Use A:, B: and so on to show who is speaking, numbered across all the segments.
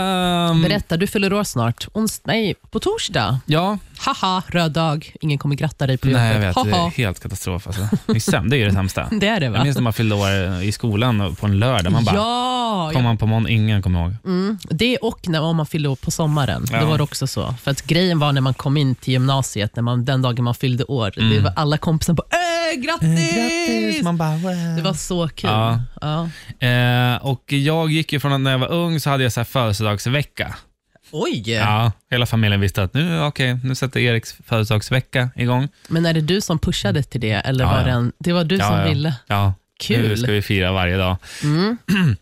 A: ehm,
B: Berätta, du fyller år snart. Ons, nej, på torsdag.
A: ja.
B: Haha, röd dag. Ingen kommer gratta dig på jobbet.
A: Nej, jag vet. Det är
B: Haha.
A: helt katastrof. Alltså. Det, är säm- det är ju det sämsta.
B: Det är det, va?
A: Jag minns när man fyllde år i skolan och- på en lördag. Man bara,
B: ja, Mm.
A: kom man på måndag? Ingen kommer ihåg.
B: Det och när om man fyllde år på sommaren.
A: Ja.
B: Då var det också så. För att grejen var när man kom in till gymnasiet, när man, den dagen man fyllde år,
A: Mm.
B: det var alla kompisar på äh, grattis!
A: Man bara,
B: Det var så kul.
A: Ja.
B: Ja.
A: eh, och jag gick ju från att när jag var ung så hade jag så här födelsedagsvecka.
B: Oj!
A: Ja, hela familjen visste att nu, okej, nu sätter Eriks födelsedagsvecka igång.
B: Men är det du som pushade till det? Eller
A: Ja,
B: var
A: ja.
B: det, en, det var du som
A: ja,
B: ville?
A: Ja.
B: Kul.
A: Nu ska vi fira varje dag.
B: Mm.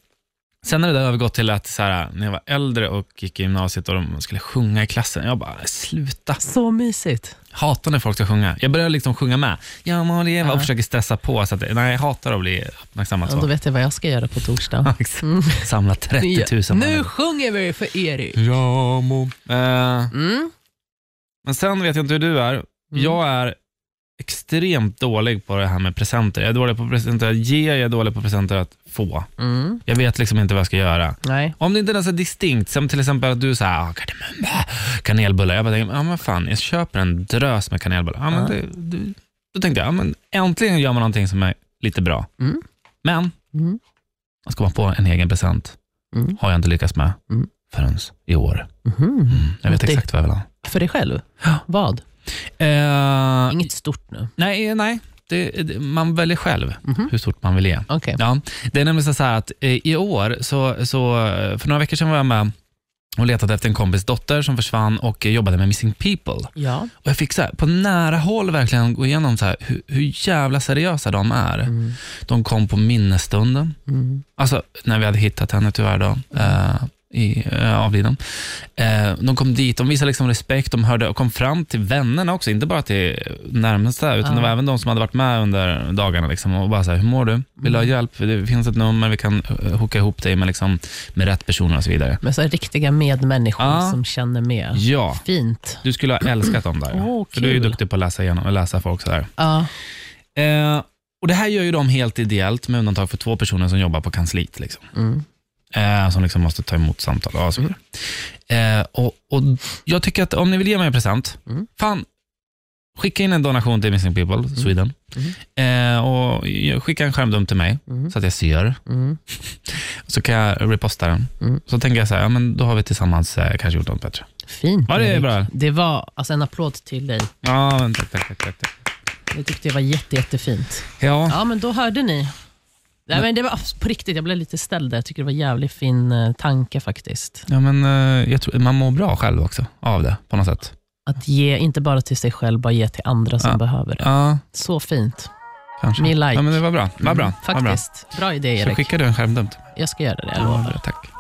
A: Sen har det där övergått till att så här, när jag var äldre och gick i gymnasiet och de skulle sjunga i klassen. Jag bara, sluta.
B: Så mysigt.
A: Hatar när folk ska sjunga. Jag börjar liksom sjunga med. Jag må leva och försöker stressa på. Så att, nej, jag hatar att bli uppmärksammad
B: Ja, då
A: så.
B: vet jag vad jag ska göra på torsdag. Mm.
A: Exakt. Samla 30 000
B: nu
A: människor.
B: sjunger vi för Erik.
A: Ja, må. Eh,
B: Mm.
A: Men sen vet jag inte hur du är. Jag är extremt dålig på det här med presenter. Jag är dålig på presenter att ge, jag är dålig på presenter att få.
B: Mm.
A: Jag vet liksom inte vad jag ska göra.
B: Nej.
A: Om det inte ens är distinkt, som till exempel att du säger ah, kardemumma, kanelbullar. Jag bara tänker, ja men fan, jag köper en drös med kanelbullar. Ja, men
B: Ja.
A: det, det, då tänkte jag, ja, men äntligen gör man någonting som är lite bra.
B: Mm.
A: Men,
B: Mm.
A: att komma på en egen present
B: Mm.
A: har jag inte lyckats med
B: Mm.
A: förrän i år.
B: Mhm.
A: Jag vet
B: Det-
A: exakt vad jag vill ha.
B: För dig själv? Vad?
A: Eh,
B: Inget stort nu.
A: Nej, nej. Det, det, man väljer själv
B: Mhm.
A: hur stort man vill ge.
B: Okej.
A: Ja, det är nämligen så här att eh, i år, så, så, eh, för några veckor sedan var jag med och letade efter en kompis dotter som försvann och eh, jobbade med Missing People.
B: Ja.
A: Och Jag fick så här, på nära håll verkligen gå igenom så här, hur, hur jävla seriösa de är. De kom på minnesstunden.
B: Mm.
A: Alltså när vi hade hittat henne tyvärr då, eh, i, eh, avliden. Eh, de kom dit, de visade liksom respekt, de hörde och kom fram till vännerna också, inte bara till närmsta, utan
B: Ja.
A: det var även de som hade varit med under dagarna liksom, och bara så här, hur mår du? Vill du ha
B: Mm.
A: hjälp? Det finns ett nummer, vi kan eh, hooka ihop dig med, liksom, med rätt personer och så vidare.
B: Men så här riktiga medmänniskor
A: Ja.
B: som känner med.
A: Ja,
B: Fint.
A: du skulle ha älskat dem där.
B: Åh,
A: för du är ju
B: kul.
A: duktig på att läsa, igenom, läsa folk sådär.
B: Ja.
A: Eh, och det här gör ju de helt ideellt, med undantag för två personer som jobbar på kansliet. Liksom.
B: Mm.
A: Eh, som liksom måste ta emot samtal och så vidare. Eh, och, och Jag tycker att om ni vill ge mig en present,
B: Mm.
A: fan, skicka in en donation till Missing People Sweden. Eh, och jag- skicka en skärmdump till mig,
B: Mm.
A: så att jag ser.
B: Mm.
A: Så kan jag reposta den.
B: Mm.
A: Så tänker jag så här, ja, men då har vi tillsammans eh, kanske gjort något bättre.
B: Fint
A: Ja, det är
B: Erik.
A: bra.
B: Det var alltså en applåd till dig.
A: Ja, men tack, tack, tack, tack, tack.
B: Jag tyckte det var jätte, jättefint.
A: Ja,
B: Ja, men då hörde ni. Nej, men det var på riktigt, jag blev lite ställd där. Jag tycker det var en jävligt fin eh, tanke faktiskt.
A: ja, men eh, jag tror, man mår bra själv också av det på något sätt.
B: Att ge, inte bara till sig själv, bara ge till andra som
A: Ja.
B: behöver det.
A: Ja,
B: Så fint.
A: kanske.
B: Me like.
A: Ja, men det var bra. Var bra.
B: Mm,
A: Var bra.
B: Faktiskt. Bra idé,
A: Så
B: Erik.
A: skickar du en skärmdump?
B: Jag ska göra det, jag
A: Ja,
B: lovar.
A: tack.